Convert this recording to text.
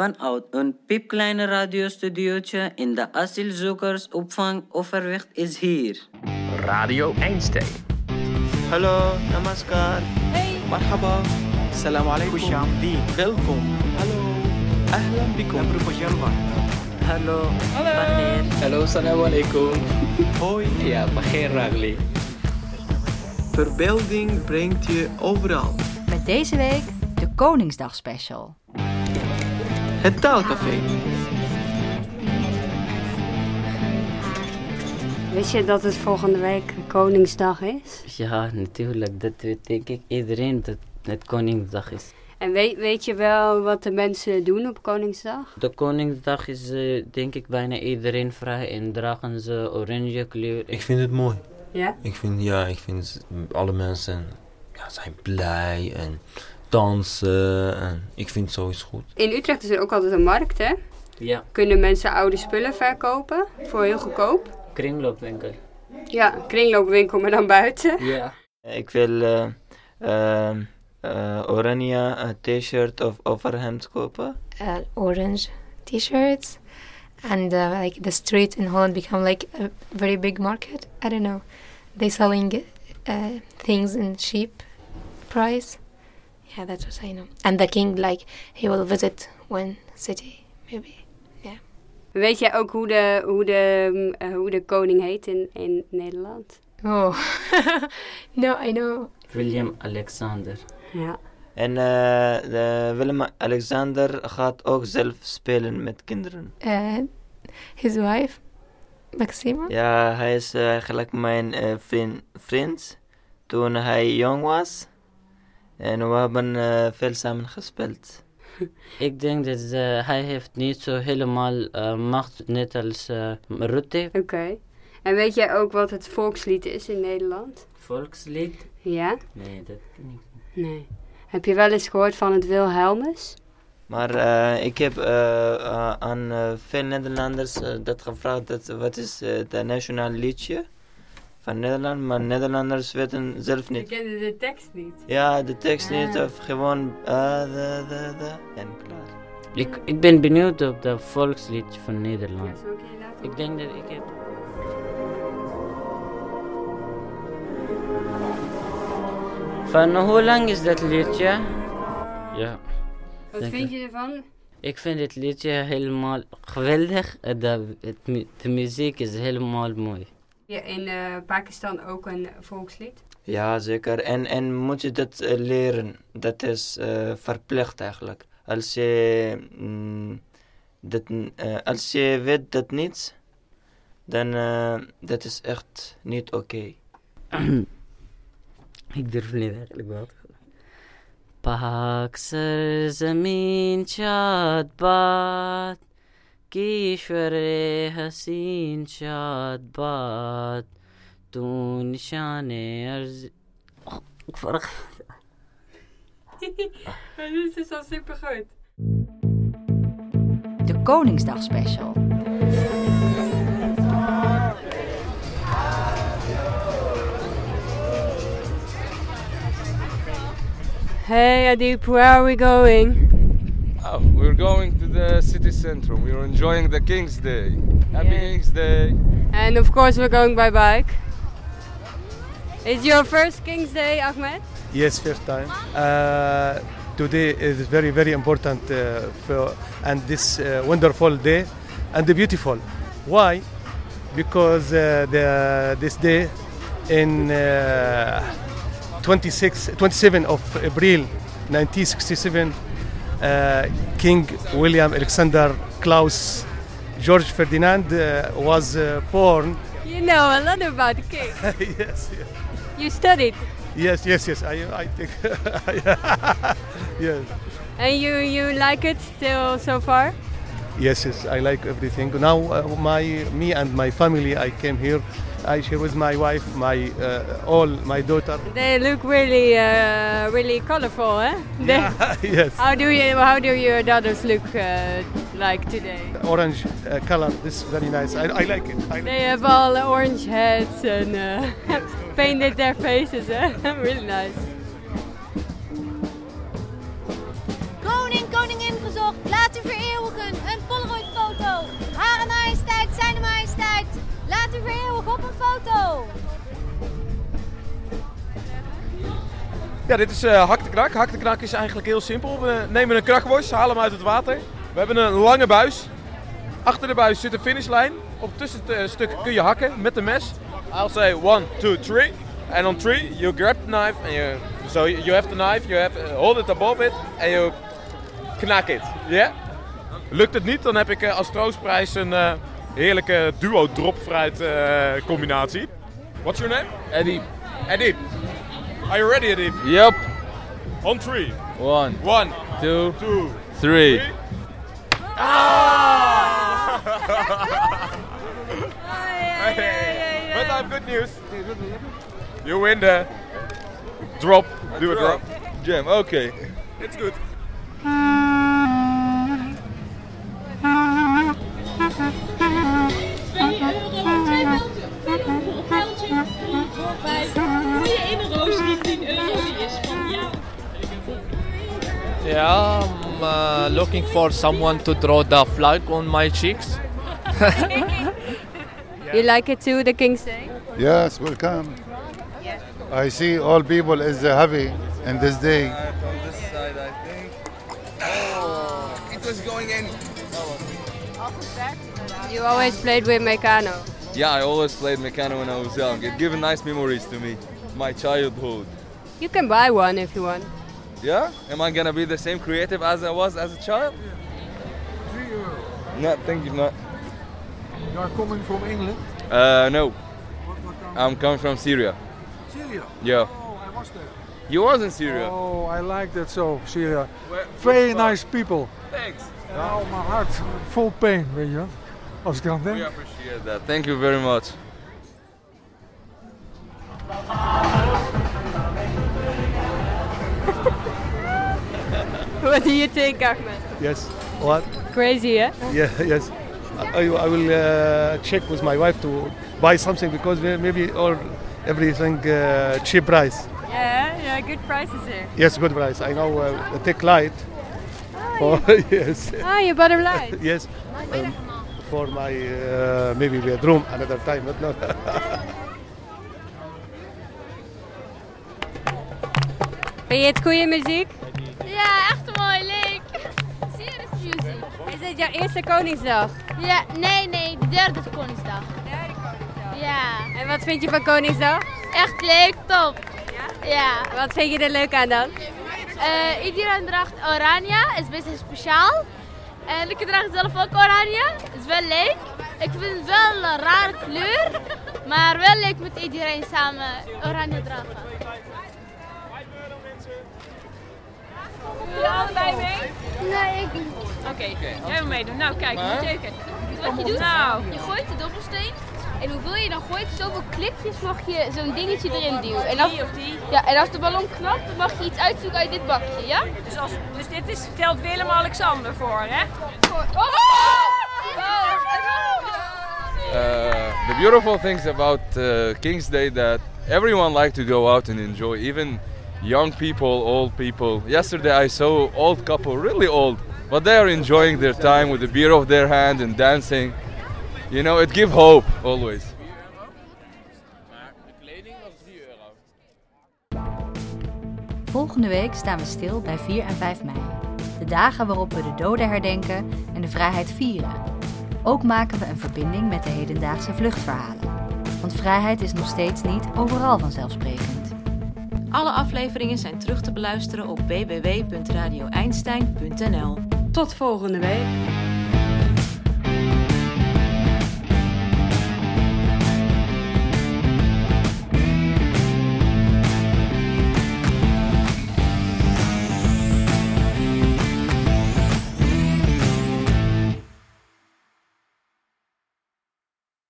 Vanuit een piepkleine radiostudiootje in de asielzoekersopvang Overwicht is hier. Radio Einstein. Hallo, namaskar. Hey. Marhaba. Salam خوش alaikum. آمدید Welkom. Hallo. Ahlan bikum. امر خوشحال باد Hallo. Hallo. Hallo, assalamu alaikum. Hoi. Ja, begin Ragli. Verbeelding brengt je overal. Met deze week de Koningsdag special. Het taalcafé. Wist je dat het volgende week Koningsdag is? Ja, natuurlijk. Dat weet denk ik iedereen dat het Koningsdag is. En weet, weet je wel wat de mensen doen op Koningsdag? De Koningsdag is eh, denk ik bijna iedereen vrij en dragen ze oranje kleur. Ik vind het mooi. Ja? Ik vind, ja, ik vind alle mensen ja, zijn blij en dansen. En ik vind zoiets goed. In Utrecht is er ook altijd een markt, hè? Ja, Kunnen mensen oude spullen verkopen voor heel goedkoop? kringloopwinkel. Ja, kringloopwinkel, maar dan buiten. Ja. Ik wil eh, ehm, eh, oranje eh, t-shirt of overhemd kopen. uh, orange t-shirts and uh, like the street in holland become like a very big market i don't know they selling uh, things in cheap price yeah that's what i know and the king like he will visit one city maybe Weet jij ook hoe de, hoe de, mm, eh, hoe de koning heet in, in Nederland? oh no i know William Alexander. Ja. En eh, de Willem-Alexander gaat ook zelf spelen met kinderen. uh, his wife maxima Ja, hij is eh, eigenlijk mijn eh, vriend, vriend toen hij jong was. En we hebben eh, veel samen gespeeld. Ik denk dat ze- hij heeft niet zo helemaal eh, macht, net als eh Rutte. Oké. En weet jij ook wat het volkslied is in Nederland? Volkslied? Ja? Nee, dat ken ik niet. Nee. Heb je wel eens gehoord van het Wilhelmus? Maar eh, ik heb eh, eh, aan eh, veel Nederlanders eh, dat gevraagd, dat, wat is eh, het nationaal liedje van Nederland? Maar Nederlanders weten zelf niet. kende de tekst niet. Ja, de tekst niet Ah. of gewoon eh, de, de, de, en klaar. Ik, ik ben benieuwd op de volkslied van Ja, Nederland. zal ik je laten Ik denk dat ik heb... Van hoe lang is dat liedje? Ja. Wat Zeker. vind je ervan? Ik vind het liedje helemaal geweldig. Eh, De, het mu- de muziek is helemaal mooi. Ja, in eh, Pakistan ook een volkslied. Ja, zeker. En, en moet je dat eh, leren? Dat is eh, verplicht eigenlijk. Als je, mm, dat, n- eh, als je weet dat niet, dan eh dat is echt niet oké. Ik durf niet eigenlijk wel te geloven. Pak zameen chad baat, kishwar haseen chad baat, tu nishane arz... Oh, ik vergeet. Dit is al super goed. De Koningsdag special. Hey Adip, where are we going? Oh, we're going to the city center. We're enjoying the King's Day. Happy Yeah. King's Day. And of course we're going by bike. It's your first King's Day, Ahmed? Yes, first time. Uh, today is very, very important uh, for, and this uh, wonderful day and beautiful. Why? Because uh, the, this day in uh, 26, 27 of April 1967, uh, King William Alexander Klaus George Ferdinand uh, was uh, born. You know a lot about the king. yes, yes. You studied. Yes, yes, yes. I, I think. yes. And you, you like it still so far? Yes, yes. I like everything. Now, uh, my me and my family, I came here. I share with my wife, my uh, all, my daughter. They look really, uh, really colorful, eh? They- yes. How do you, how do your daughters look uh, like today? Orange uh, color. This is very nice. I, I like it. I like They have all orange heads and uh, painted their faces. eh? really nice. Koning, koningin gezocht, laat u vereeuwen. auto. Ja, dit is eh hak de knak. Hak de knak is eigenlijk heel simpel. We nemen een krakworst, halen hem uit het water. We hebben een lange buis. Achter de buis zit een finishlijn. Op tussenstuk kun je hakken met de mes. I'll say one, two, three. And on three, you grab the knife. And you, so you have the knife, you have, hold it above it. And you knak it. Yeah? Lukt het niet, dan heb ik eh, als troostprijs een eh, heerlijke duo dropfruit eh combinatie. What's your name? Eddie. Eddie. Are you ready, Eddie? Yep. On three. One. One. Two. Two. Three. But I have good news. You win the drop. Do a drop. Jam, okay. It's good. Yeah, I'm uh, looking for someone to draw the flag on my cheeks. You like it too, the King's Day? Yes, welcome. I see all people is happy in this day. Oh, It was going in. You always played with Meccano. Yeah, I always played Meccano when I was young. It gave nice memories to me. My childhood. You can buy one if you want. Yeah? Am I gonna be the same creative as I was as a child? No, thank you, not. You are coming from England? Uh, no. I'm coming from Syria. Syria? Yeah. Oh, I was there. You was in Syria? Oh, I like that so, Syria. Very nice people. Thanks. Nou, mijn hart vol pain, weet je wel. Als ik aan denk. Appreciate that. Thank you very much. What do you think, Ahmed? Yes. What? Crazy, eh? Yeah, yes. I, I will uh, check with my wife to buy something because we- maybe all everything uh, cheap price. Yeah, yeah, good prices here. Yes, good price. I know uh, take light. Oh, yes. Ah, you bought a light. yes. Um, for my uh, maybe bedroom another time, but not. Vind je het goede muziek? Ja, echt mooi, leuk. Serious music. Is dit jouw eerste Koningsdag? Ja, nee, nee, de derde Koningsdag. Derde Koningsdag? Ja. En wat vind je van Koningsdag? Echt leuk, top. Ja? Wat vind je er leuk aan dan? Eh, iedereen draagt oranje, is best speciaal. En ik draag zelf ook oranje, is wel leuk. Ik vind het wel een rare kleur, maar wel leuk met iedereen samen oranje dragen. Doe je allebei mee? Nee, ik niet. Oké, jij wil meedoen. Nou, kijk, Maar? moet je even. Wat je doet, Nou. je gooit de dobbelsteen. En hoeveel je dan gooit, zoveel klikjes mag je zo'n dingetje erin duwen. En als, Ja, en als de ballon knapt, dan mag je iets uitzoeken uit dit bakje, ja? Dus, als, dus dit is, stelt Willem-Alexander voor, hè? Uh, the beautiful things about uh, King's Day that everyone like to go out and enjoy, even young people, old people. Yesterday I saw old couple, really old, but they are enjoying their time with the beer of their hand and dancing. You know, it give hope always. Volgende week staan we stil bij 4 en 5 mei. De dagen waarop we de doden herdenken en de vrijheid vieren. Ook maken we een verbinding met de hedendaagse vluchtverhalen. Want vrijheid is nog steeds niet overal vanzelfsprekend. Alle afleveringen zijn terug te beluisteren op www.radioeinstein.nl. Tot volgende week.